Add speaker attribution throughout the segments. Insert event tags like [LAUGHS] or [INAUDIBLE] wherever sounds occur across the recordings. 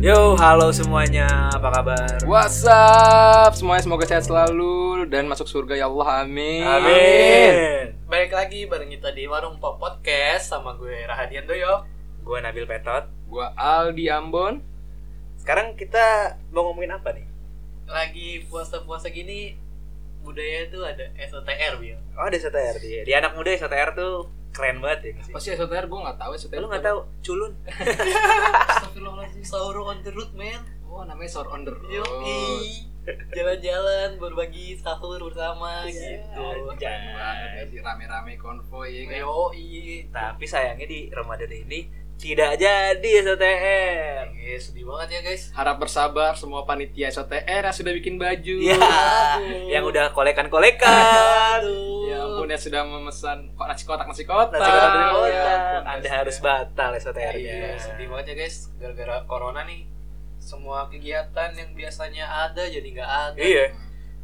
Speaker 1: Yo, halo semuanya, apa kabar?
Speaker 2: What's up semuanya semoga sehat selalu dan masuk surga ya Allah amin.
Speaker 3: Balik lagi bareng kita di Warung Pop Podcast sama gue Rahadian Doyo.
Speaker 1: Gue Nabil Petot.
Speaker 2: Gua Aldi Ambon.
Speaker 1: Sekarang kita mau ngomongin apa nih?
Speaker 3: Lagi puasa-puasa gini budaya itu ada SOTR, Bil.
Speaker 1: Oh, ada STR di, di anak muda STR tuh keren banget ya nggak sih.
Speaker 2: Pasti SOTR gue nggak tahu ya, SOTR.
Speaker 1: Lu nggak tahu culun?
Speaker 3: Ah, Astagfirullahaladzim, sahur on the road, man.
Speaker 2: Oh namanya sore on the road.
Speaker 3: Yoi. Jalan-jalan, berbagi sahur bersama
Speaker 1: Iya.
Speaker 3: gitu.
Speaker 1: Anjay.
Speaker 2: Banget ya sih, rame-rame konvoy ya kan.
Speaker 3: Yoi.
Speaker 1: Tapi sayangnya di Ramadan ini tidak jadi STR.
Speaker 3: Eh, sedih banget ya, guys.
Speaker 2: Harap bersabar semua panitia SOTR yang sudah bikin baju.
Speaker 1: Ya,
Speaker 3: Aduh.
Speaker 1: yang udah kolekan-kolekan.
Speaker 3: Aduh.
Speaker 2: Ya ampun yang sudah memesan kok nasi kotak nasi kotak.
Speaker 1: Nasi kotak dari
Speaker 2: Ya
Speaker 1: kotak.
Speaker 2: ampun,
Speaker 1: Anda
Speaker 2: guys,
Speaker 1: harus
Speaker 2: ya.
Speaker 1: batal STR-nya.
Speaker 3: Iya, sedih banget ya guys, gara-gara corona nih. Semua kegiatan yang biasanya ada jadi nggak ada.
Speaker 1: Iya.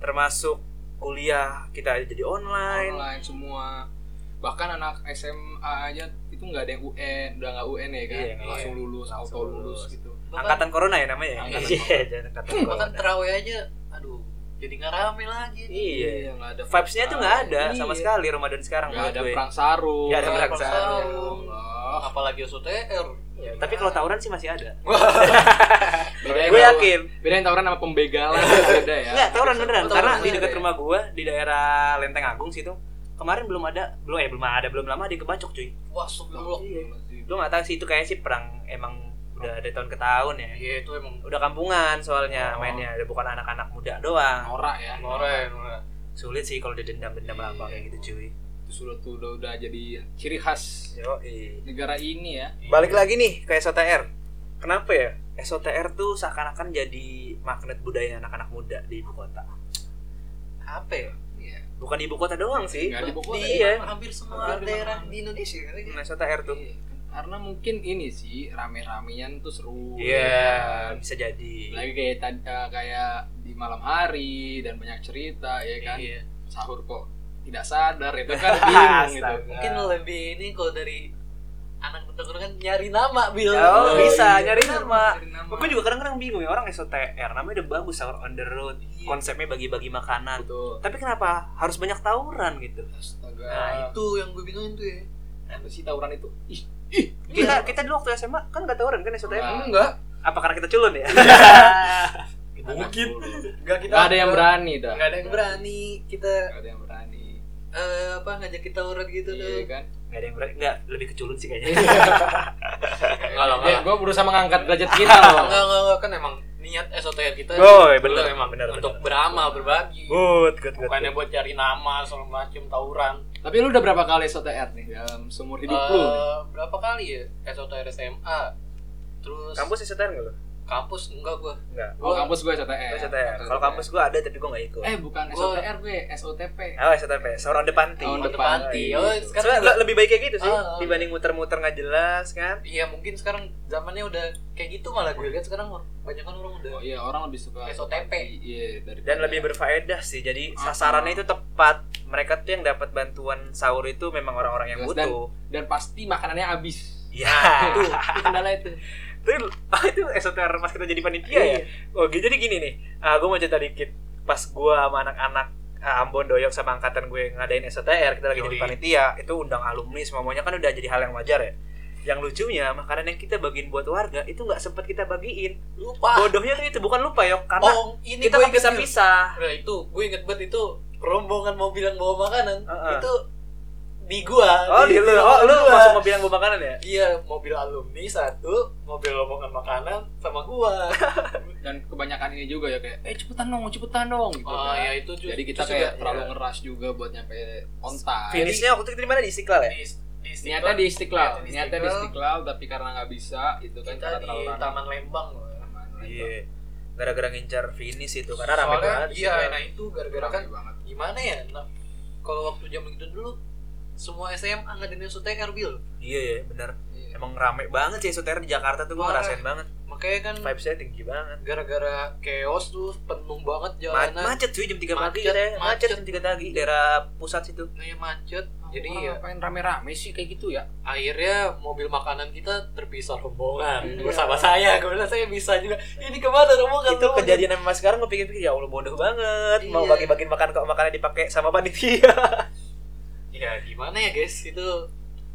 Speaker 1: Termasuk kuliah kita jadi online.
Speaker 2: online semua bahkan anak SMA aja itu nggak ada yang UN udah nggak UN ya kan
Speaker 1: Iya, nggak
Speaker 2: langsung lulus
Speaker 1: Langsung
Speaker 2: auto lulus,
Speaker 1: lulus.
Speaker 2: gitu
Speaker 1: Angkatan corona ya namanya. ya?
Speaker 2: Angkatan
Speaker 1: Iya, jangan angkatan
Speaker 3: bahkan
Speaker 1: corona.
Speaker 3: terawih aja, aduh, jadi nggak rame lagi.
Speaker 1: Iya.
Speaker 2: nggak ada
Speaker 1: Vibes-nya tuh nggak ada sama
Speaker 2: Iya.
Speaker 1: sekali Ramadan sekarang
Speaker 2: nggak
Speaker 1: menurut
Speaker 2: ada
Speaker 1: gue.
Speaker 2: perang sarung
Speaker 1: Nggak ada perang Oh.
Speaker 3: sarung.
Speaker 2: Ya Allah.
Speaker 3: Apalagi SOTR.
Speaker 1: Ya, tapi kalau tawuran sih masih ada.
Speaker 2: Beda yang
Speaker 1: gue
Speaker 2: tawuran-
Speaker 1: yakin.
Speaker 2: beda yang tawuran sama
Speaker 1: [LAUGHS]
Speaker 2: pembegalan beda ya
Speaker 1: Enggak, tawuran beneran.
Speaker 3: Oh, tawuran
Speaker 1: Karena di
Speaker 3: beneran
Speaker 1: dekat
Speaker 3: ya?
Speaker 1: rumah gue di daerah Lenteng Agung situ kemarin belum ada belum eh belum ada belum lama dia kebacok cuy.
Speaker 3: Wah, sebelum
Speaker 1: Iya. Gue nggak tahu sih itu kayak sih perang emang udah dari tahun ke tahun ya.
Speaker 3: Iya, itu emang
Speaker 1: Udah kampungan soalnya
Speaker 2: Oh.
Speaker 1: mainnya, udah bukan anak-anak muda doang.
Speaker 2: norak ya
Speaker 3: noren. noren.
Speaker 1: Sulit sih kalau didendam-dendam lama kayak gitu cuy.
Speaker 2: itu sudah tuh udah, udah jadi ciri khas
Speaker 1: Yo,
Speaker 2: negara ini ya
Speaker 1: Balik lagi nih ke SOTR. Kenapa ya? SOTR tuh seakan-akan jadi magnet budaya anak-anak muda di ibu kota.
Speaker 3: Apa ya?
Speaker 2: Iya.
Speaker 1: Bukan di ibu kota doang sih.
Speaker 2: Nggak di ibu kota,
Speaker 1: Iya.
Speaker 3: Hampir semua
Speaker 2: Hampir di
Speaker 3: daerah
Speaker 2: mana-mana.
Speaker 3: di Indonesia kan ya?
Speaker 1: Nah, SOTR tuh.
Speaker 2: Iya. karena mungkin ini sih rame-ramean tuh seru ya
Speaker 1: Iya, bisa jadi.
Speaker 2: lagi kayak tadi eh, kayak di malam hari dan banyak cerita ya kan
Speaker 3: Iya.
Speaker 2: sahur kok tidak sadar
Speaker 1: [LAUGHS]
Speaker 2: itu kan bingung gitu
Speaker 1: Astaga.
Speaker 3: Mungkin lebih ini kalau dari anak bener kan nyari nama, Bil.
Speaker 1: Oh, bisa
Speaker 2: iya.
Speaker 1: nyari nama.
Speaker 2: Nyari nama.
Speaker 1: Gue juga kadang-kadang bingung ya orang SOTR namanya udah bagus sahur on the road, konsepnya bagi-bagi makanan.
Speaker 2: Betul.
Speaker 1: Tapi kenapa harus banyak tawuran gitu?
Speaker 2: astaga
Speaker 3: Nah, itu yang gue bingungin tuh ya.
Speaker 2: apa sih tawuran itu ih
Speaker 1: Kita kita dulu waktu SMA kan nggak tawuran kan SOTR?
Speaker 2: Nggak.
Speaker 3: Enggak.
Speaker 1: Apa karena kita culun ya?
Speaker 3: Mungkin.
Speaker 2: nggak ada yang berani dah
Speaker 3: Enggak ada yang berani kita
Speaker 2: nggak ada yang berani
Speaker 3: eh, apa ngajak kita urat gitu
Speaker 2: iya
Speaker 3: tuh.
Speaker 2: kan
Speaker 1: Nggak ada yang berani, nggak lebih keculun sih kayaknya.
Speaker 3: Enggak lah,
Speaker 2: ya,
Speaker 3: enggak.
Speaker 2: gue berusaha mengangkat derajat kita loh
Speaker 3: Enggak, enggak, enggak. kan emang niat SOTR kita
Speaker 1: [LAUGHS] Oh, iya,
Speaker 3: dulu
Speaker 1: bener,
Speaker 3: emang
Speaker 1: bener, Oh, iya,
Speaker 3: untuk
Speaker 1: bener.
Speaker 3: beramal, berbagi.
Speaker 1: Good, good, good.
Speaker 3: Bukannya buat cari nama segala macam tawuran.
Speaker 2: tapi lu udah berapa kali SOTR nih dalam seumur hidup
Speaker 3: Eh,
Speaker 2: lu
Speaker 3: berapa kali ya SOTR SMA? Terus
Speaker 1: Kampus STR nggak lo?
Speaker 3: kampus enggak gua.
Speaker 1: Enggak.
Speaker 2: oh
Speaker 3: gua-
Speaker 2: kampus gue SOTR
Speaker 1: Gue STR. Kalau kampus gue ada tapi gue nggak ikut.
Speaker 2: eh bukan
Speaker 3: Gua-
Speaker 2: SOTR gue SOTP
Speaker 1: Oh STP, seorang depan
Speaker 2: Tahun
Speaker 3: Tahun
Speaker 1: tim.
Speaker 2: depan.
Speaker 3: depan. Oh,
Speaker 1: Iya.
Speaker 3: sekarang
Speaker 1: Sebenarnya lebih baik kayak gitu sih
Speaker 3: Ah, ah.
Speaker 1: dibanding muter-muter nggak jelas kan?
Speaker 3: Iya mungkin sekarang zamannya udah kayak gitu malah gue lihat sekarang banyak kan orang udah
Speaker 2: oh iya orang lebih suka
Speaker 3: SOTP.
Speaker 2: iya dari
Speaker 1: Dan lebih berfaedah sih. Jadi sasarannya itu tepat. Mereka tuh yang dapat bantuan sahur itu memang orang-orang yang
Speaker 2: Jelas, dan-
Speaker 1: butuh.
Speaker 2: dan pasti makanannya habis [LAUGHS]
Speaker 1: Ya.
Speaker 2: itu itu kendala itu
Speaker 1: [LAUGHS] Itu, [LAUGHS] ah, itu SOTR pas kita jadi
Speaker 3: Iya,
Speaker 1: panitia ya. Oke, jadi gini nih. Ah, gue mau cerita dikit. Pas gue sama anak-anak ah, Ambon Doyok sama angkatan gue ngadain SOTR, kita lagi jadi
Speaker 3: Yoi.
Speaker 1: panitia, itu undang alumni semuanya kan udah jadi hal yang wajar ya. Yang lucunya, makanan yang kita bagiin buat warga itu nggak sempat kita bagiin.
Speaker 3: lupa.
Speaker 1: Bodohnya tuh itu bukan lupa yok, karena
Speaker 3: Oh, ini
Speaker 1: kita kan nggak
Speaker 3: gue inget
Speaker 1: bisa
Speaker 3: nih.
Speaker 1: pisah.
Speaker 3: Nah itu gue inget banget itu rombongan mobil yang bawa makanan
Speaker 1: Heeh.
Speaker 3: itu di gua.
Speaker 1: Ah, Oh, di lu, oh, lu
Speaker 3: gua.
Speaker 1: masuk mau bilang gue makanan ya?
Speaker 3: Iya mobil alumni satu, mobil rombongan makanan
Speaker 1: [LAUGHS]
Speaker 3: sama gua.
Speaker 2: dan kebanyakan ini juga ya kayak eh cepetan dong cepetan dong gitu
Speaker 3: Oh
Speaker 2: kan.
Speaker 3: ya itu juga.
Speaker 2: jadi kita
Speaker 3: itu
Speaker 2: kayak
Speaker 3: juga
Speaker 2: terlalu ngeras juga buat nyampe on time
Speaker 1: Finishnya waktu itu di mana di Istiqlal ya?
Speaker 3: di, di
Speaker 2: niatnya di istiqlal
Speaker 3: Niatnya di
Speaker 2: niatnya di
Speaker 3: Istiqlal.
Speaker 2: istiqlal tapi karena nggak bisa itu kan
Speaker 3: kita
Speaker 2: karena
Speaker 3: di
Speaker 2: terlalu ramai
Speaker 3: Taman Lembang. loh.
Speaker 2: Taman Lembang.
Speaker 1: Iya. Gara-gara ngincar finish itu karena rame
Speaker 3: Soalnya,
Speaker 1: banget.
Speaker 3: Iya,
Speaker 1: Istiqlal.
Speaker 3: nah itu gara-gara
Speaker 2: Ramai
Speaker 3: kan
Speaker 2: banget
Speaker 3: gimana ya? Nah, kalau waktu zaman itu dulu semua SMA ngadain SUTR Bil.
Speaker 1: Iya, iya, benar.
Speaker 2: Iya.
Speaker 1: Emang rame banget sih SOTR di Jakarta tuh gue
Speaker 3: Parah.
Speaker 1: ngerasain banget.
Speaker 3: Makanya kan
Speaker 1: Vibes-nya tinggi banget.
Speaker 3: gara-gara chaos tuh penuh banget
Speaker 1: Ma-
Speaker 3: jalanan.
Speaker 1: macet cuy jam 3 pagi
Speaker 3: Macet,
Speaker 1: katanya. Macet,
Speaker 3: macet.
Speaker 1: jam 3 pagi daerah pusat situ.
Speaker 3: Nah, ya macet. Jadi
Speaker 2: Orang
Speaker 3: ya.
Speaker 2: ngapain rame-rame sih kayak gitu ya
Speaker 3: akhirnya mobil makanan kita terpisah rombongan
Speaker 2: Iya.
Speaker 3: bersama saya kemudian saya bisa juga ini kemana rombongan
Speaker 1: itu
Speaker 3: rombongan?
Speaker 1: kejadian sama sekarang gue pikir-pikir ya Allah bodoh banget mau
Speaker 3: Iya.
Speaker 1: bagi-bagi makan kok makannya dipakai sama
Speaker 3: [LAUGHS]
Speaker 1: panitia
Speaker 3: ya gimana ya guys itu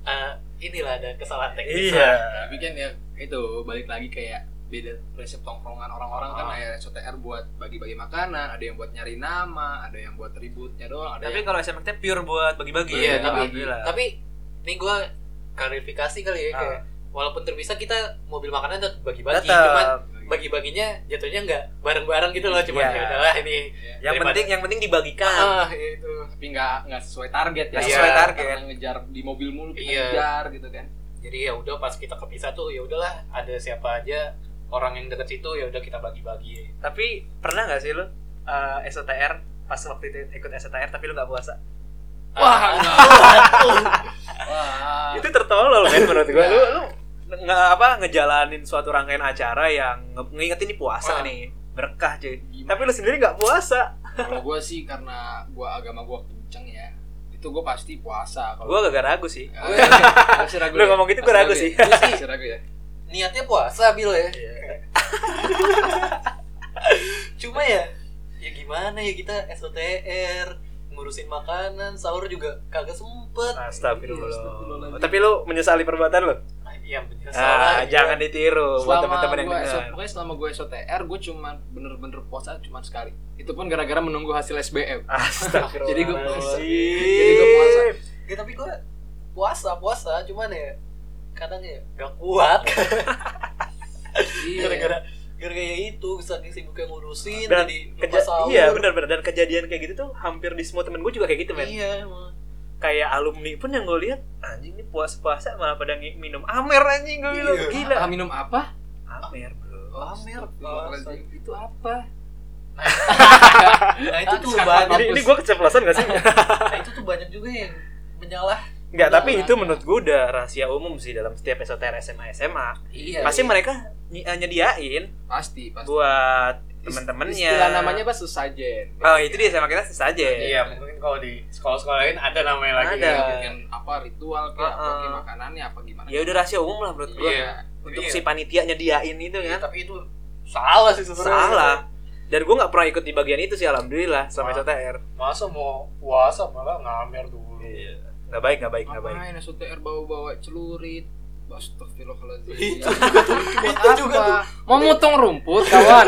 Speaker 3: eh, inilah ada kesalahan teknis lah.
Speaker 1: iya
Speaker 2: tapi kan ya itu balik lagi kayak beda prinsip tongkrongan orang-orang kan
Speaker 3: Ah.
Speaker 2: ada SOTR buat bagi-bagi makanan ada yang buat nyari nama ada yang buat ributnya doang ada
Speaker 1: tapi
Speaker 2: yang
Speaker 1: kalau SMK kita pure buat bagi-bagi
Speaker 3: Iya, tapi-
Speaker 1: Alhamdulillah.
Speaker 3: tapi ini gue klarifikasi kali ya
Speaker 1: Ah.
Speaker 3: kayak walaupun terpisah kita mobil makanan tetap bagi-bagi cuman
Speaker 1: tetap
Speaker 3: bagi-baginya jatuhnya nggak bareng-bareng gitu loh cuman
Speaker 1: Iya.
Speaker 3: ya udahlah ini
Speaker 2: Iya.
Speaker 1: yang
Speaker 3: daripada-
Speaker 1: penting yang penting dibagikan
Speaker 3: ah itu
Speaker 2: tapi nggak nggak sesuai target ya
Speaker 1: Nggak
Speaker 3: sesuai
Speaker 1: target.
Speaker 2: Karena ngejar di mobil mulu kita
Speaker 3: Iya.
Speaker 2: ngejar gitu kan
Speaker 3: jadi ya udah pas kita kepisah tuh ya udahlah ada siapa aja orang yang deket situ ya udah kita bagi-bagi
Speaker 1: tapi pernah nggak sih lu eh, SOTR pas waktu itu ikut SOTR tapi lu nggak puasa
Speaker 2: wah
Speaker 3: Ah,
Speaker 2: enggak. [LAUGHS] wah
Speaker 1: itu tertolol kan menurut gue
Speaker 2: Iya.
Speaker 1: lu lu nggak apa ngejalanin suatu rangkaian acara yang nge- ngingetin ini puasa
Speaker 3: Ah.
Speaker 1: nih berkah cuy
Speaker 2: Gimana?
Speaker 1: tapi lu sendiri nggak puasa
Speaker 2: kalau gue sih karena gue agama gue kenceng ya itu gue pasti puasa
Speaker 1: gue
Speaker 2: kalau
Speaker 1: agak ragu sih
Speaker 2: Ah, iya, iya. Masih ragu
Speaker 1: Lu
Speaker 2: ya?
Speaker 1: ngomong gitu gua
Speaker 2: Masih
Speaker 1: ragu
Speaker 2: ya?
Speaker 1: sih.
Speaker 2: Lu sih masih ragu ya
Speaker 3: niatnya puasa bil ya [LAUGHS] cuma ya ya gimana ya kita SOTR ngurusin makanan sahur juga kagak sempet
Speaker 1: Astagfirullah.
Speaker 2: Astagfirullahaladzim.
Speaker 1: Tapi lu menyesali perbuatan lu?
Speaker 3: Ah, ya menyesal
Speaker 1: Ah,
Speaker 3: lah,
Speaker 1: jangan
Speaker 3: ya.
Speaker 1: ditiru buat teman-teman yang
Speaker 2: gua
Speaker 1: dengar.
Speaker 2: SO pokoknya selama gue SOTR gue er, cuman bener-bener puasa cuman sekali itu pun gara-gara menunggu hasil SBM
Speaker 1: Astagfirullah.
Speaker 2: Jadi gua puasa.
Speaker 1: Jadi
Speaker 2: gua puasa.
Speaker 3: Ya, tapi gue puasa puasa cuman ya kadang ya gak kuat
Speaker 2: Iya.
Speaker 3: gara-gara gara-gara ya itu saking sibuknya ngurusin
Speaker 1: Dan
Speaker 3: jadi lupa
Speaker 1: Keja-
Speaker 3: sahur
Speaker 1: iya benar-benar dan kejadian kayak gitu tuh hampir di semua temen gue juga kayak gitu men
Speaker 3: iya emang.
Speaker 1: kayak alumni pun yang gue lihat anjing ini puasa puasa malah pada ngi- minum amer anjing gue bilang
Speaker 3: Iya.
Speaker 1: gila
Speaker 2: Ah, minum apa?
Speaker 1: amer bro
Speaker 3: Pamer,
Speaker 2: Astagfirullahaladzim. Itu apa?
Speaker 3: nah itu tuh
Speaker 2: Sangat
Speaker 3: banyak
Speaker 1: ini, ini gue keceplosan gak sih
Speaker 3: nah, itu tuh banyak juga yang menyalah
Speaker 1: Enggak, tapi
Speaker 3: Iya.
Speaker 1: itu menurut gue udah rahasia umum sih dalam setiap SOTR SMA SMA
Speaker 3: iya
Speaker 1: pasti mereka ny- eh, nyediain
Speaker 2: Pasti, pasti.
Speaker 1: buat
Speaker 2: Ist-
Speaker 1: temen-temennya
Speaker 2: Istilah namanya apa? Sesajen.
Speaker 1: Oh itu dia sama kita saja.
Speaker 3: Iya, mungkin kalau di sekolah-sekolah lain ada namanya lagi.
Speaker 1: Ada.
Speaker 3: ya.
Speaker 2: Mungkin Iya, apa ritual kayak apa
Speaker 1: Uh-uh.
Speaker 2: kayak makanannya apa gimana?
Speaker 1: Ya udah rahasia umum lah menurut gua.
Speaker 3: Iya.
Speaker 1: Untuk
Speaker 3: Iya.
Speaker 1: si panitia nyediain itu
Speaker 3: Iya,
Speaker 1: kan.
Speaker 3: tapi itu salah sih sebenarnya.
Speaker 1: Salah. Dan gua nggak pernah ikut di bagian itu sih alhamdulillah sama
Speaker 3: Ah.
Speaker 1: SOTR.
Speaker 3: Masa mau puasa malah ngamer dulu.
Speaker 1: Nggak baik, nggak baik, nggak baik.
Speaker 2: Ngapain SOTR bawa-bawa celurit? Astagfirullahaladzim.
Speaker 3: Itu
Speaker 2: Buat
Speaker 3: Itu juga
Speaker 2: apa? Mau motong rumput, kawan.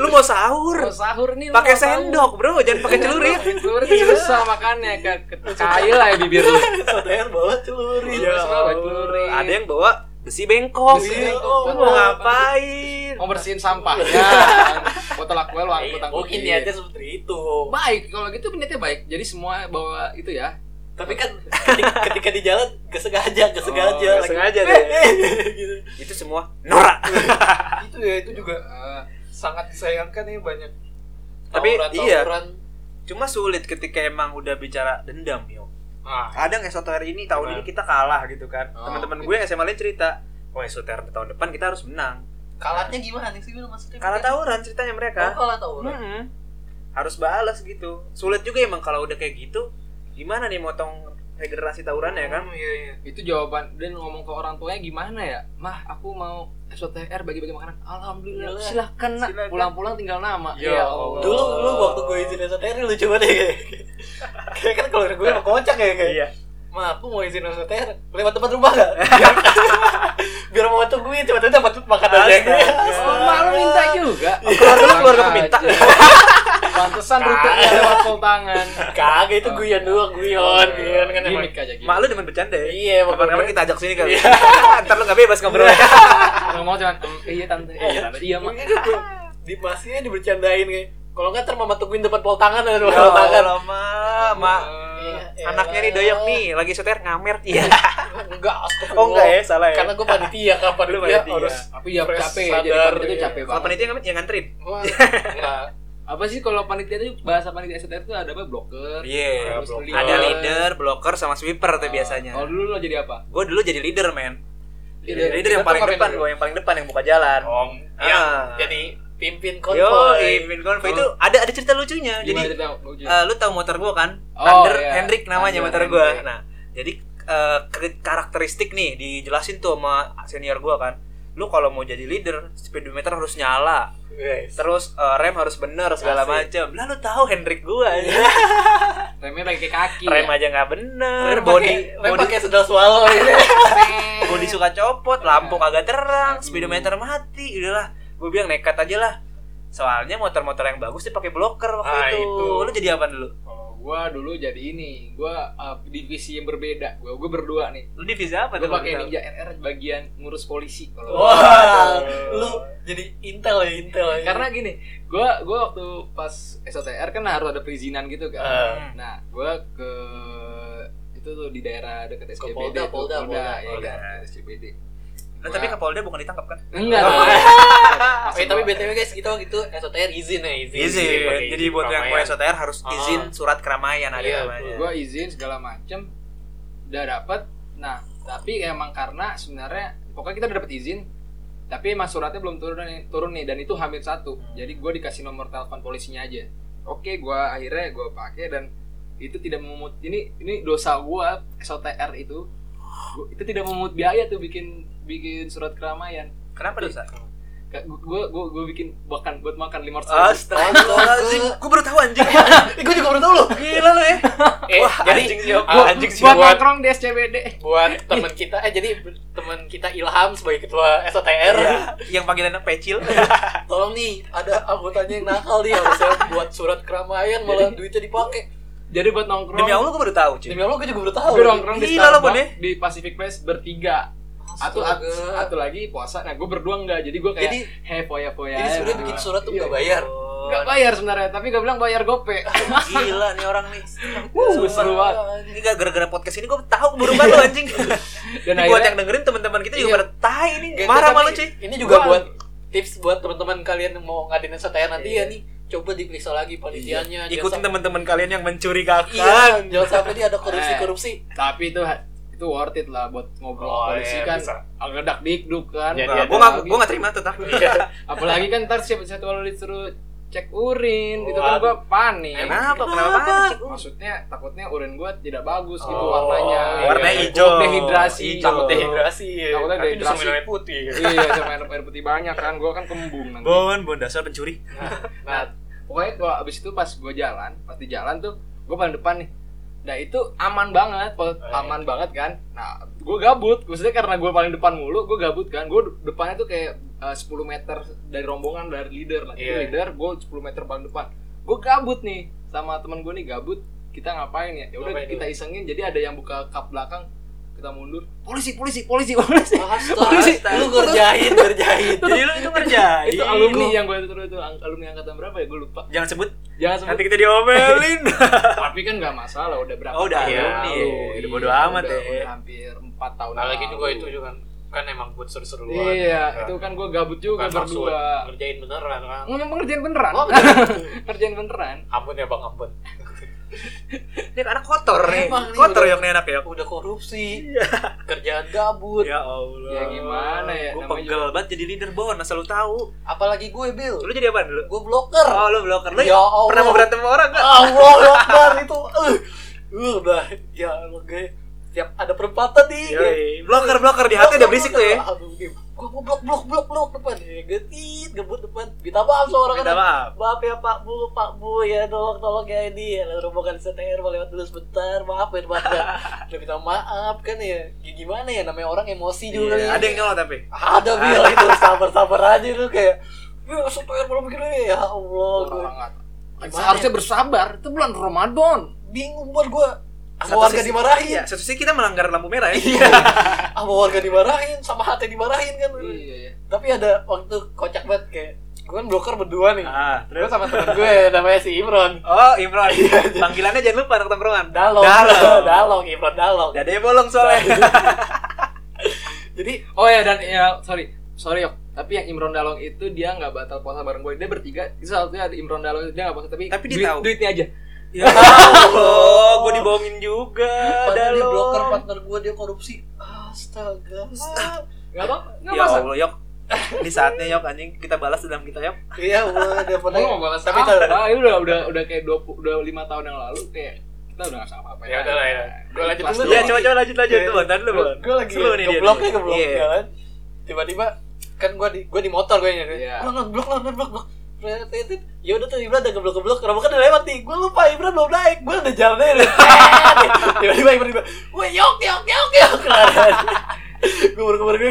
Speaker 1: Lu mau
Speaker 2: Mau
Speaker 1: sahur?
Speaker 2: sahur nih. lu
Speaker 1: Pakai
Speaker 2: mau sahur.
Speaker 1: sendok, Bro. Jangan pakai celurit.
Speaker 2: Celurit susah makannya ke ke- kail lah ya bibir lu.
Speaker 3: Saudaranya bawa celuri.
Speaker 1: Ya
Speaker 2: Terus bawa
Speaker 1: Allah.
Speaker 2: celurit.
Speaker 1: Ada yang bawa besi bengkok.
Speaker 2: Besi
Speaker 1: Iya.
Speaker 2: bengkok.
Speaker 1: Lu mau ngapain?
Speaker 2: Mau bersihin sampahnya. Botol aqua lu
Speaker 3: Eh,
Speaker 2: angkut angkut.
Speaker 3: mungkin niatnya seperti itu.
Speaker 2: baik kalau gitu niatnya baik. Jadi semua bawa itu ya.
Speaker 3: Tapi kan ketika, ketika di jalan kesengaja, kesengaja.
Speaker 1: nggak
Speaker 3: lagi.
Speaker 1: sengaja Oh,
Speaker 3: Eh,
Speaker 1: deh.
Speaker 3: eh, [LAUGHS] gitu.
Speaker 1: Itu semua norak.
Speaker 3: Itu ya, itu juga
Speaker 2: Eh,
Speaker 3: sangat disayangkan ya banyak.
Speaker 1: Tapi, iya.
Speaker 3: tawuran.
Speaker 1: Cuma sulit ketika emang udah bicara dendam, yo.
Speaker 3: Ah,
Speaker 1: kadang esoter ini tahun ini
Speaker 3: Benar.
Speaker 1: kita kalah gitu kan
Speaker 2: Oh,
Speaker 1: teman-teman
Speaker 2: gitu.
Speaker 1: gue yang SMA lain cerita oh esoter tahun depan kita harus menang
Speaker 3: kalatnya gimana sih Bil? maksudnya?
Speaker 1: kalah tawuran ceritanya
Speaker 3: Oh,
Speaker 1: mereka
Speaker 3: kalah tawuran.
Speaker 1: Mm-mm. harus balas gitu sulit juga emang kalau udah kayak gitu gimana nih motong regenerasi tawuran ya kan
Speaker 3: Hmm, Iya, iya.
Speaker 2: itu jawaban dan ngomong ke orang tuanya gimana ya? Mah, aku mau SOTR bagi-bagi makanan. Alhamdulillah.
Speaker 3: Iya.
Speaker 2: Silahkan nak.
Speaker 1: Silakan.
Speaker 2: Pulang-pulang tinggal nama.
Speaker 1: Ya Allah.
Speaker 3: Dulu dulu waktu gue izin SOTR lu coba deh ya, kayak kayak kan kalau gue mau kocak ya kayak.
Speaker 1: iya
Speaker 3: Ma, aku mau izin SOTR lewat tempat rumah gak? Biar, [LAUGHS] biar mau tungguin tiba-tiba dapat makanan aja.
Speaker 1: Astaga.
Speaker 2: Mama lu minta juga.
Speaker 1: Oh, keluarga lu keluarga peminta
Speaker 2: Aja. Iya, Pantesan rutenya lewat tol tangan.
Speaker 3: Kagak itu guyon doang, guyon, guyon kan emang.
Speaker 2: Gimik aja gitu.
Speaker 1: mak lu demen bercanda ya
Speaker 3: Iya,
Speaker 1: kapan-kapan
Speaker 3: pokoknya. Iya.
Speaker 1: kita ajak sini kali [LAUGHS] ntar lu gak bebas ngobrol ya.
Speaker 2: Ngomong cuman "Em, iya tante, iya tante, iya mak.
Speaker 3: Mungkin itu gitu. di masnya dibercandain kayak. Kalau nggak ntar mama tungguin depan pol tangan
Speaker 1: ya
Speaker 3: ada depan pol tangan.
Speaker 1: Allah mak mak
Speaker 3: Iya,
Speaker 2: Eh,
Speaker 1: anaknya nih doyok nih lagi esoter ngamer iya
Speaker 3: Enggak, astagfirullah.
Speaker 1: oh enggak ya salah ya
Speaker 3: Iya. Karena gue panitia kapan
Speaker 1: Lu
Speaker 3: dia
Speaker 1: panitia.
Speaker 3: harus
Speaker 2: Tapi ya
Speaker 3: Fresh
Speaker 2: capek
Speaker 3: sadar,
Speaker 2: jadi panitia itu
Speaker 3: iya.
Speaker 2: capek
Speaker 1: kalau
Speaker 2: banget.
Speaker 1: panitia yang nganterin
Speaker 3: Wah, enggak.
Speaker 2: Apa sih kalau panitia itu bahasa panitia STR itu ada apa? Blocker.
Speaker 1: Iya.
Speaker 2: terus
Speaker 3: blocker.
Speaker 1: Ada leader, blocker, sama sweeper tuh
Speaker 2: Ah,
Speaker 1: biasanya.
Speaker 2: Kalau dulu lo jadi apa?
Speaker 1: Gue dulu jadi leader, men.
Speaker 2: Leader-
Speaker 1: Leader,
Speaker 2: leader
Speaker 1: yang paling
Speaker 2: tuh
Speaker 1: depan
Speaker 2: ngapain
Speaker 1: gue, yang paling depan yang buka jalan.
Speaker 3: Om,
Speaker 1: Ah.
Speaker 3: ya, jadi pimpin
Speaker 1: Yo,
Speaker 3: konvoy.
Speaker 1: Imin Konvoy itu ada ada cerita lucunya.
Speaker 2: Gimana
Speaker 1: Jadi
Speaker 2: cerita? Lo jadi-
Speaker 1: eh, lu tahu motor gue kan?
Speaker 2: Oh,
Speaker 1: Thunder
Speaker 2: iya.
Speaker 1: Hendrik namanya
Speaker 2: Thunder
Speaker 1: motor gue.
Speaker 2: Hendrik.
Speaker 1: Nah, jadi eh, kri- karakteristik nih dijelasin tuh sama senior gua kan lu kalau mau jadi leader speedometer harus nyala
Speaker 3: Guys.
Speaker 1: terus eh, rem harus bener segala
Speaker 3: Asik.
Speaker 1: macam lah lu tahu Hendrik gua aja
Speaker 2: remnya pakai kaki
Speaker 1: rem
Speaker 2: ya?
Speaker 1: aja nggak bener
Speaker 3: Rem
Speaker 1: body
Speaker 3: pakai- rem
Speaker 1: body
Speaker 3: pakai sedal [LAUGHS] swallow gitu.
Speaker 1: body suka copot lampu kagak terang
Speaker 2: Aduh.
Speaker 1: speedometer mati udahlah gue bilang nekat aja lah soalnya motor-motor yang bagus dia pakai blocker waktu
Speaker 2: Ah,
Speaker 1: itu.
Speaker 2: itu.
Speaker 1: lu jadi apa dulu
Speaker 2: kalau gua dulu jadi ini gua uh, divisi yang berbeda gua gua berdua nih
Speaker 1: lu divisi apa tuh Oh.
Speaker 2: gua pakai
Speaker 1: waktu itu?
Speaker 2: ninja rr bagian ngurus polisi kalau
Speaker 1: Wah.
Speaker 3: Wah, lu jadi intel ya intel ya.
Speaker 2: karena gini gua gua waktu pas SOTR kan harus ada perizinan gitu kan
Speaker 1: Ah.
Speaker 3: Eh.
Speaker 1: Hmm.
Speaker 2: nah gua ke itu tuh di daerah dekat SCBD
Speaker 3: Polda,
Speaker 2: tuh,
Speaker 3: Polda, Polda,
Speaker 2: ya
Speaker 1: Polda.
Speaker 2: kan, daerah SCBD
Speaker 1: Nah, tapi Kapolda bukan ditangkap kan [LAUGHS]
Speaker 2: enggak
Speaker 3: Oh.
Speaker 2: dong.
Speaker 3: Eh, tapi btw guys kita waktu itu SOTR izin ya izin.
Speaker 1: izin
Speaker 3: Pakai
Speaker 1: jadi buat yang mau
Speaker 3: keramaian.
Speaker 1: SOTR harus
Speaker 3: Ah.
Speaker 1: izin surat keramaian ada
Speaker 3: Iya,
Speaker 1: namanya
Speaker 2: gue izin segala macem udah dapet nah tapi emang karena sebenarnya pokoknya kita udah dapet izin tapi emang suratnya belum turun nih, turun nih dan itu hamil satu jadi gue dikasih nomor telepon polisinya aja oke gua akhirnya gue pakai dan itu tidak memungut ini ini dosa gue SOTR itu Gua- itu tidak memungut biaya tuh bikin bikin surat keramaian
Speaker 1: kenapa dosa
Speaker 2: gue gue gue bikin bahkan buat makan lima ratus
Speaker 1: Astagfirullahaladzim, gue baru tahu anjing
Speaker 3: [LAUGHS] Eh, gua juga baru tahu lu.
Speaker 1: Gila lu ya
Speaker 3: Eh,
Speaker 1: Wah,
Speaker 3: jadi
Speaker 1: anjing sih,
Speaker 3: ah, anjing sih buat
Speaker 2: nongkrong di SCBD
Speaker 3: buat teman kita eh jadi teman kita Ilham sebagai ketua SOTR
Speaker 1: Iya, Yang panggilannya pecil
Speaker 3: tolong nih ada anggotanya yang nakal nih harusnya buat surat keramaian malah duitnya dipakai
Speaker 2: jadi buat nongkrong
Speaker 1: Demi Allah gue baru tahu cuy
Speaker 3: demi Allah gue juga baru tahu
Speaker 2: Gue nongkrong di
Speaker 1: Oh, Gila lo, Bon, ya?
Speaker 2: Starbucks di Pacific Place bertiga. Atau
Speaker 3: Astaga.
Speaker 2: atau lagi puasa. Nah, gue berdua enggak. Jadi gue kayak
Speaker 3: jadi
Speaker 2: hey foya foya.
Speaker 3: jadi sebenarnya bikin surat tuh nggak bayar
Speaker 2: Enggak bayar sebenarnya, tapi gue bilang bayar
Speaker 3: [LAUGHS]
Speaker 2: gope.
Speaker 1: Oh, Gila nih orang nih
Speaker 2: Wuh, seru banget.
Speaker 1: Ini gak gara-gara podcast ini gue tahu keburukan lu anjing
Speaker 2: Dan
Speaker 1: Ini buat yang dengerin teman-teman kita juga
Speaker 3: Iya.
Speaker 1: pada tai nih.
Speaker 3: Gitu,
Speaker 1: Marah
Speaker 3: tapi
Speaker 1: malu cuy.
Speaker 3: ini juga
Speaker 2: Gua-
Speaker 3: buat tips buat teman-teman kalian yang mau ngadain SOTR nanti
Speaker 1: Iya.
Speaker 3: ya nih coba diperiksa lagi panitianya jangan
Speaker 1: Ikutin
Speaker 3: sam-
Speaker 1: teman-teman kalian yang
Speaker 3: iya
Speaker 1: mencurigakan.
Speaker 3: jangan sampai dia ada korupsi korupsi
Speaker 2: tapi itu itu worth it lah buat ngobrol
Speaker 3: Oh,
Speaker 2: polisi
Speaker 3: iya,
Speaker 2: kan.
Speaker 3: bisa.
Speaker 2: Agak dikduk kan.
Speaker 3: Jadi
Speaker 1: Nah,
Speaker 3: ada
Speaker 1: gue gak, gue gak terima tetap.
Speaker 3: Iya.
Speaker 2: Apalagi kan ntar siapa satu lalu disuruh cek urin gitu kan
Speaker 3: Waduh.
Speaker 2: gue panik.
Speaker 1: Kenapa? Kenapa?
Speaker 2: Maksudnya takutnya urin gue tidak bagus gitu
Speaker 3: Oh, Iya.
Speaker 2: warnanya.
Speaker 1: warnanya
Speaker 2: Takut
Speaker 1: hijau.
Speaker 2: Dehidrasi.
Speaker 1: Hijau.
Speaker 2: takut
Speaker 1: Takut
Speaker 3: dehidrasi
Speaker 2: Takutnya
Speaker 4: Tapi
Speaker 2: dehidrasi.
Speaker 4: disuruh minum air putih kan.
Speaker 2: iya sama air, air putih banyak kan gue kan kembung nanti
Speaker 1: Bon, bon dasar pencuri.
Speaker 2: nah, nah, pokoknya gua abis itu pas gue jalan pas di jalan tuh gue paling depan nih nah itu aman banget pol- aman banget kan nah gue gabut maksudnya karena gue paling depan mulu gue gabut kan gue depannya tuh kayak eh, 10 meter dari rombongan dari leader lah Itu
Speaker 4: Iya.
Speaker 2: leader gue 10 meter paling depan gue gabut nih sama teman gue nih gabut kita ngapain ya ya udah
Speaker 4: Ngapain
Speaker 2: kita isengin jadi ada yang buka kap belakang kita mundur polisi polisi polisi [LAUGHS] polisi
Speaker 3: Astaga, lu ngerjain, ngerjain.
Speaker 1: Jadi lu itu ngerjain. Iya.
Speaker 2: itu alumni yang gue itu itu ang- alumni angkatan berapa ya gue lupa
Speaker 1: Jangan sebut.
Speaker 2: jangan sebut
Speaker 1: Nanti kita diomelin.
Speaker 2: tapi kan nggak masalah udah berapa
Speaker 1: Oh, udah
Speaker 2: tahun
Speaker 4: alumni,
Speaker 2: lalu.
Speaker 1: ya. Udah
Speaker 2: Iya,
Speaker 1: bodo amat
Speaker 2: udah-
Speaker 1: ya.
Speaker 2: udah hampir empat tahun
Speaker 4: Nah, lagi
Speaker 2: lalu.
Speaker 4: juga
Speaker 3: Iya.
Speaker 4: itu juga kan, kan emang buat seru-seruan.
Speaker 2: iya
Speaker 4: Kan.
Speaker 2: itu kan gue gabut juga
Speaker 4: Bukan maksud
Speaker 2: berdua
Speaker 4: ngerjain beneran kan.
Speaker 2: ngomong pengerjaan beneran [LAUGHS]
Speaker 4: Oh, beneran.
Speaker 2: Pengerjaan beneran
Speaker 4: ampun ya Bang, ampun.
Speaker 1: [LAUGHS] Ini anak kotor nih.
Speaker 3: Emang nih,
Speaker 1: Kotor
Speaker 3: udah.
Speaker 1: yang nih anak ya.
Speaker 3: Udah korupsi,
Speaker 4: Iya.
Speaker 3: kerjaan gabut.
Speaker 1: Ya Allah.
Speaker 2: Ya gimana ya,
Speaker 1: Gue
Speaker 2: namanya
Speaker 1: pegel banget jadi leader bon, asal lu tahu.
Speaker 3: Apalagi gue, Bill.
Speaker 1: Lu jadi apa dulu?
Speaker 3: Gue bloker.
Speaker 1: Oh, lu bloker. Lu
Speaker 3: Ya Allah.
Speaker 1: pernah mau berantem sama orang gak?
Speaker 3: Allah Akbar itu. Eh, eh, udah ya emang gue tiap ada perempatan nih.
Speaker 4: Iya,
Speaker 3: gue-
Speaker 1: Bloker bloker di hati udah berisik tuh ya.
Speaker 3: Aduh, gue gue blok blok blok blok depan ya getit gebut depan minta maaf sama orang
Speaker 1: Minta maaf.
Speaker 3: Maaf ya Pak Bu, Pak Bu ya tolong tolong ya ini ya, rombongan STR mau lewat dulu sebentar. Maaf ya Pak. Ya. Udah minta maaf kan ya. Ya Gimana ya namanya orang emosi juga
Speaker 1: Iya,
Speaker 3: ya.
Speaker 1: Ada yang nyolot tapi.
Speaker 3: ada bil itu sabar-sabar aja lu kayak Ya STR belum mikir ya Allah gue
Speaker 2: orang nggak
Speaker 3: Gimana
Speaker 2: seharusnya bersabar itu bulan Ramadan
Speaker 3: bingung buat gue sama
Speaker 1: Satu
Speaker 3: warga
Speaker 1: sisi- Iya,
Speaker 3: dimarahin Iya.
Speaker 1: satu sisi kita melanggar lampu merah ya.
Speaker 3: sama warga dimarahin sama hati dimarahin kan
Speaker 2: iya iya
Speaker 3: tapi ada waktu kocak banget kayak gue kan broker berdua nih
Speaker 1: Ah,
Speaker 3: gue
Speaker 1: terus
Speaker 3: sama temen gue namanya si Imron
Speaker 1: Oh, Imron.
Speaker 3: Iya,
Speaker 1: Panggilannya jangan lupa anak tongkrongan.
Speaker 3: Dalong
Speaker 1: Dalong.
Speaker 3: Dalong Imron Dalong
Speaker 1: Dadanya bolong soalnya.
Speaker 3: jadi
Speaker 2: oh ya dan ya sorry sorry yok tapi yang Imron Dalong itu dia nggak batal puasa bareng gue dia bertiga itu satunya ada Imron Dalong dia nggak puasa tapi,
Speaker 1: Tapi dia
Speaker 2: duit-
Speaker 1: tahu.
Speaker 2: duitnya aja
Speaker 1: [LAUGHS] ya Allah, gue dibohongin juga.
Speaker 3: padahal dia
Speaker 1: Dalong.
Speaker 3: broker partner gue dia korupsi astaga
Speaker 2: nggak apa nggak
Speaker 1: Ya
Speaker 2: masalah
Speaker 1: Allah, Yok. Ini saatnya Yok anjing kita balas dendam kita Yok.
Speaker 3: iya gue dia pernah
Speaker 2: Gue mau Oh, balas Ah.
Speaker 3: tapi
Speaker 2: tapi
Speaker 3: tahu
Speaker 2: apa? Ini udah udah udah kayak 20 udah lima tahun yang lalu kayak kita kita udah nggak usah apa-apa
Speaker 4: Ya udahlah ya. Gua lanjut
Speaker 2: Kelas
Speaker 4: dulu.
Speaker 1: Ya,
Speaker 2: dua.
Speaker 1: coba coba lanjut lanjut
Speaker 3: Iya.
Speaker 1: tuh, ntar dulu, Bon.
Speaker 3: gue lagi ya,
Speaker 1: Slow nih dia
Speaker 3: keblok
Speaker 1: nih.
Speaker 3: nih keblok
Speaker 1: Iya.
Speaker 3: jalan kan? tiba-tiba kan gue di gue di motor gue ini
Speaker 2: Iya.
Speaker 3: Lan, lan, blok lan lan, blok blok Tet, tet, tet. ya udah tuh Ibra udah keblok keblok kenapa kan udah lewat nih gue lupa Ibra belum naik gue udah jalan aja [LAUGHS] udah tet. tiba-tiba Ibra tiba gue yok yok yok yok [LAUGHS] gue baru gue gue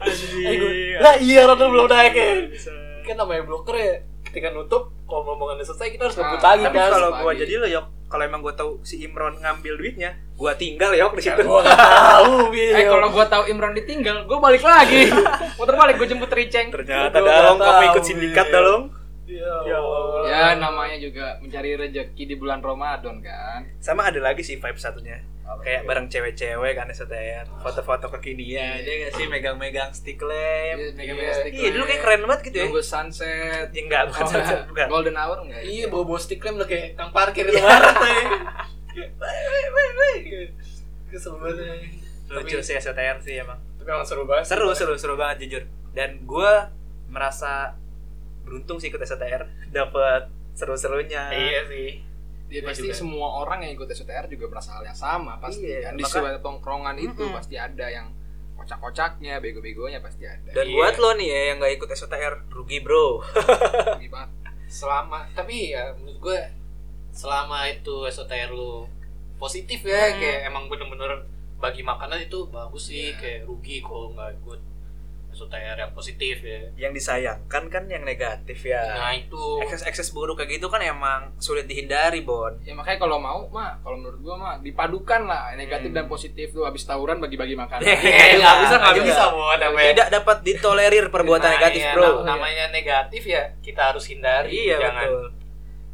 Speaker 1: Anjir.
Speaker 3: lah iya Ron belum naik ya
Speaker 1: Bisa.
Speaker 3: kan namanya bloker ya ketika nutup kalau omongannya selesai kita harus ngebut
Speaker 2: Ah,
Speaker 3: lagi
Speaker 1: Tapi
Speaker 3: kan
Speaker 4: [LAUGHS]
Speaker 1: kalau
Speaker 2: pagi.
Speaker 1: gua jadi lo, Yok, kalau emang gua tahu si Imron ngambil duitnya, gua tinggal, Yok, di situ.
Speaker 3: gue gak tahu Bil
Speaker 1: Iya.
Speaker 2: Eh kalau gua tahu Imran ditinggal, gua balik
Speaker 1: [LAUGHS]
Speaker 2: lagi. Muter balik gua jemput Riceng.
Speaker 1: Ternyata
Speaker 3: Gua
Speaker 1: Dalong
Speaker 3: nggak
Speaker 1: kamu
Speaker 3: tahu,
Speaker 1: ikut sindikat
Speaker 3: iya.
Speaker 1: Dalong.
Speaker 3: ya Allah
Speaker 2: Ya
Speaker 1: nah.
Speaker 2: namanya juga mencari rejeki di bulan Ramadan kan.
Speaker 1: Sama ada lagi sih vibe satunya.
Speaker 2: Apa
Speaker 1: Kayak bareng cewek-cewek kan STR, foto-foto kekinian. Dia nggak sih megang-megang stick lamp.
Speaker 2: Iya, megang-megang stick
Speaker 1: Iya, dulu
Speaker 2: lamp.
Speaker 1: kayak keren banget gitu ya.
Speaker 2: Nunggu sunset.
Speaker 1: Ya enggak, bukan
Speaker 2: Oh,
Speaker 1: sunset, bukan.
Speaker 2: Golden hour ya? enggak?
Speaker 3: iya bawa bawa stick lamp udah kayak kang parkir itu
Speaker 1: [LAUGHS]
Speaker 3: banget kesel banget
Speaker 1: Lucu sih STR sih emang.
Speaker 4: Tapi emang seru banget.
Speaker 1: Seru, seru, seru banget jujur. Dan gua merasa beruntung sih ikut [LAUGHS] STR, dapat seru-serunya.
Speaker 4: Iya sih.
Speaker 2: Ya,
Speaker 4: Iya
Speaker 2: pasti
Speaker 4: juga.
Speaker 2: semua orang yang ikut SOTR juga merasa hal yang sama pasti
Speaker 1: Iya,
Speaker 2: kan di
Speaker 1: maka-
Speaker 2: sebuah tongkrongan itu
Speaker 1: Mm-mm.
Speaker 2: pasti ada yang kocak-kocaknya, bego-begonya pasti ada.
Speaker 1: Dan
Speaker 4: Iya.
Speaker 1: buat lo nih ya yang nggak ikut STR, rugi bro.
Speaker 2: Rugi banget.
Speaker 4: Selama tapi ya menurut gue selama itu SOTR lu positif ya
Speaker 1: Hmm.
Speaker 4: kayak emang bener-bener bagi makanan itu bagus sih
Speaker 2: Iya.
Speaker 4: kayak rugi kalau nggak ikut SOTR yang positif ya.
Speaker 1: Yang disayangkan kan yang negatif ya.
Speaker 4: Nah
Speaker 3: [LAUGHS]
Speaker 4: itu
Speaker 1: Ekses-ekses buruk kayak gitu kan emang sulit dihindari, Bon.
Speaker 2: Ya makanya kalau mau mah, kalau menurut gua mah dipadukan lah negatif
Speaker 1: Hmm.
Speaker 2: dan positif tuh habis tawuran bagi-bagi makanan.
Speaker 1: Iya,
Speaker 4: Eh, nggak bisa nggak
Speaker 1: Iya.
Speaker 4: bisa mau namanya
Speaker 1: Tidak dapat ditolerir perbuatan
Speaker 4: Nah,
Speaker 1: negatif,
Speaker 4: iya,
Speaker 1: bro.
Speaker 4: nam- namanya negatif ya kita harus hindari
Speaker 1: Iya
Speaker 4: jangan gitu.
Speaker 1: betul.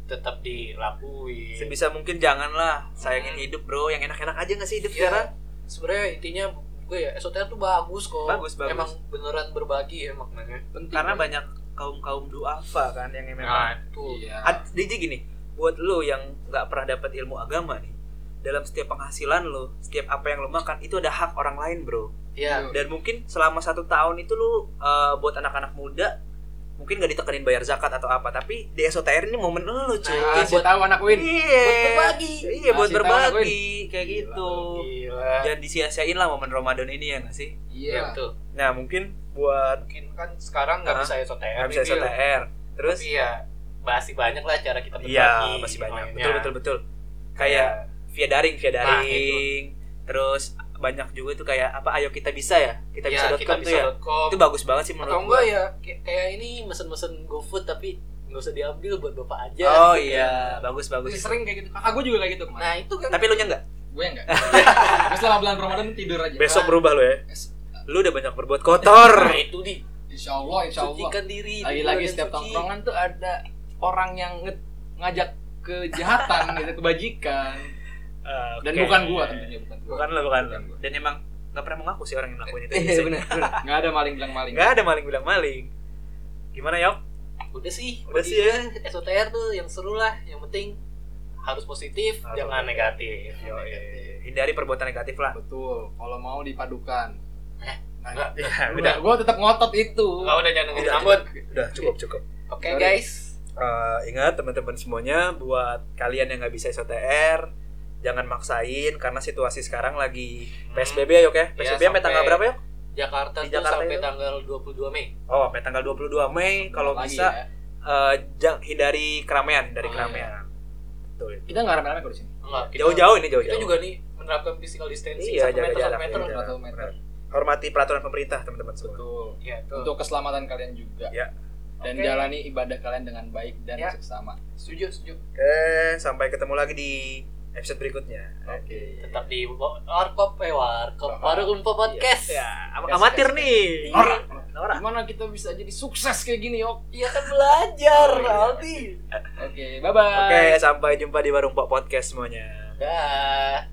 Speaker 4: tetap dilakuin
Speaker 1: Sebisa mungkin janganlah sayangin
Speaker 4: Hmm.
Speaker 1: hidup, bro. Yang enak-enak aja nggak sih hidup
Speaker 4: Iya.
Speaker 1: sekarang?
Speaker 3: sebenarnya intinya gue ya SOTR tuh bagus kok
Speaker 1: Bagus, bagus.
Speaker 3: emang beneran berbagi ya maknanya
Speaker 2: Penting.
Speaker 1: Karena banyak kaum-kaum duafa kan yang memang.
Speaker 4: nah itu
Speaker 2: Iya.
Speaker 1: Ad- Jadi gini, buat lo yang nggak pernah dapat ilmu agama nih, dalam setiap penghasilan lo, setiap apa yang lo makan itu ada hak orang lain, bro.
Speaker 3: Iya.
Speaker 4: ya
Speaker 1: dan mungkin selama satu tahun itu lu uh, buat anak-anak muda mungkin gak ditekenin bayar zakat atau apa tapi di SOTR ini momen lu cuy
Speaker 2: Nah,
Speaker 1: Iya.
Speaker 2: kasih tahu anak Win.
Speaker 3: buat berbagi.
Speaker 1: iya buat
Speaker 2: Kasih tahu anak
Speaker 1: berbagi kayak gitu
Speaker 4: gila
Speaker 1: jangan disia-siain lah momen Ramadan ini ya gak sih
Speaker 4: ya
Speaker 2: Iya.
Speaker 4: betul
Speaker 1: nah mungkin buat
Speaker 4: mungkin kan sekarang nggak
Speaker 1: Hah?
Speaker 4: bisa
Speaker 3: Ya,
Speaker 4: SOTR
Speaker 1: nggak bisa
Speaker 3: gitu
Speaker 4: nih, Bil.
Speaker 1: SOTR terus
Speaker 4: tapi ya masih banyak lah cara kita berbagi
Speaker 1: iya masih banyak betul betul betul kayak
Speaker 3: Iya.
Speaker 1: via daring via
Speaker 4: Nah,
Speaker 1: daring terus banyak juga tuh kayak apa ayo kita bisa ya
Speaker 3: Iya.
Speaker 1: kita
Speaker 4: kita bisa kita
Speaker 1: bisa.com tuh ya itu bagus banget sih menurut
Speaker 3: atau
Speaker 1: gua. Iya.
Speaker 3: enggak ya kayak, kayak ini mesen-mesen GoFood tapi nggak usah diambil buat bapak aja
Speaker 1: oh iya bagus bagus
Speaker 2: Sering kayak gitu. Kakak gua juga kayak gitu kemarin.
Speaker 4: nah itu kan
Speaker 1: Tapi lu nya enggak?
Speaker 2: Gue
Speaker 1: [LAUGHS]
Speaker 2: enggak. Terus selama bulan Ramadan tidur aja.
Speaker 1: Besok berubah lu ya.
Speaker 2: Iya. Es-
Speaker 1: Lu udah banyak berbuat kotor.
Speaker 3: [LAUGHS]
Speaker 4: Nah, itu di
Speaker 2: Insya Allah, insya Allah.
Speaker 1: kan
Speaker 3: sucikan diri
Speaker 2: Lagi-lagi
Speaker 3: dibuat yang
Speaker 2: setiap
Speaker 3: suci.
Speaker 2: tongkrongan tuh ada orang yang nge- ngajak kejahatan [LAUGHS] gitu, kebajikan. Dan bukan
Speaker 1: Iya.
Speaker 2: gua tentunya, bukan gua.
Speaker 1: Bukan lu, bukan lu.
Speaker 2: Bukan gua.
Speaker 1: Dan emang enggak pernah mengaku sih orang yang melakukan itu.
Speaker 2: Iya benar. Enggak ada maling bilang maling.
Speaker 1: Enggak ada maling bilang maling. Gimana, Yok?
Speaker 3: udah sih
Speaker 1: Udah
Speaker 3: bagi
Speaker 1: sih ya.
Speaker 3: gue, SOTR tuh yang seru lah yang penting harus positif
Speaker 1: Harus.
Speaker 4: jangan negatif
Speaker 1: Yoi. Hindari perbuatan negatif lah.
Speaker 2: Betul. Kalau mau dipadukan.
Speaker 4: Eh,
Speaker 2: Nah,
Speaker 4: enggak.
Speaker 1: Ya,
Speaker 2: udah, gua tetap ngotot itu.
Speaker 4: Enggak udah jangan dengerin
Speaker 1: Oh, Udah,
Speaker 4: Ambon.
Speaker 1: Udah, cukup, cukup.
Speaker 4: Oke
Speaker 2: Sorry.
Speaker 4: guys.
Speaker 1: Eh, ingat teman-teman semuanya buat kalian yang nggak bisa SOTR jangan maksain karena situasi sekarang lagi PSBB ya, Yok ya. PSBB sampai
Speaker 4: sampai-
Speaker 1: tanggal berapa, Yok?
Speaker 4: Jakarta
Speaker 1: Di
Speaker 4: tuh
Speaker 1: Jakarta
Speaker 4: sampai
Speaker 1: itu.
Speaker 4: tanggal 22 Mei.
Speaker 1: Oh, sampai tanggal 22 Mei kalau
Speaker 2: Lagi
Speaker 1: bisa
Speaker 2: ya.
Speaker 1: eh jang, hindari keramaian, hindari
Speaker 4: Oh,
Speaker 1: keramaian. Betul.
Speaker 2: Kita enggak rame-rame kok di sini.
Speaker 4: Enggak, kita-
Speaker 1: iya. Jauh-jauh ini jauh-jauh.
Speaker 4: Kita juga nih menerapkan physical distancing
Speaker 1: Iya,
Speaker 4: satu
Speaker 1: jaga
Speaker 4: meter
Speaker 1: jarak.
Speaker 4: satu meter.
Speaker 1: Iya.
Speaker 2: Atau meter.
Speaker 1: hormati peraturan pemerintah, teman-teman semua.
Speaker 2: Betul.
Speaker 4: Iya, tuh.
Speaker 2: Untuk keselamatan kalian juga.
Speaker 1: Ya.
Speaker 2: Dan
Speaker 4: Oke.
Speaker 2: jalani ibadah kalian dengan baik dan
Speaker 4: Ya.
Speaker 2: seksama.
Speaker 4: setuju, setuju.
Speaker 1: Oke, sampai ketemu lagi di episode berikutnya.
Speaker 2: Oke.
Speaker 4: Tetap di
Speaker 3: warkop eh warkop Iya. warung Unpo podcast
Speaker 1: Ya, am-
Speaker 2: Kasih,
Speaker 1: amatir
Speaker 2: kasih.
Speaker 1: nih.
Speaker 2: Norak.
Speaker 1: Norak.
Speaker 2: Gimana kita bisa jadi sukses kayak gini, Yok?
Speaker 3: Iya kan belajar,
Speaker 4: Oh, iya.
Speaker 3: Aldi.
Speaker 2: Oke, bye-bye.
Speaker 1: Oke, sampai jumpa di Warung Pok Podcast semuanya.
Speaker 3: Dah.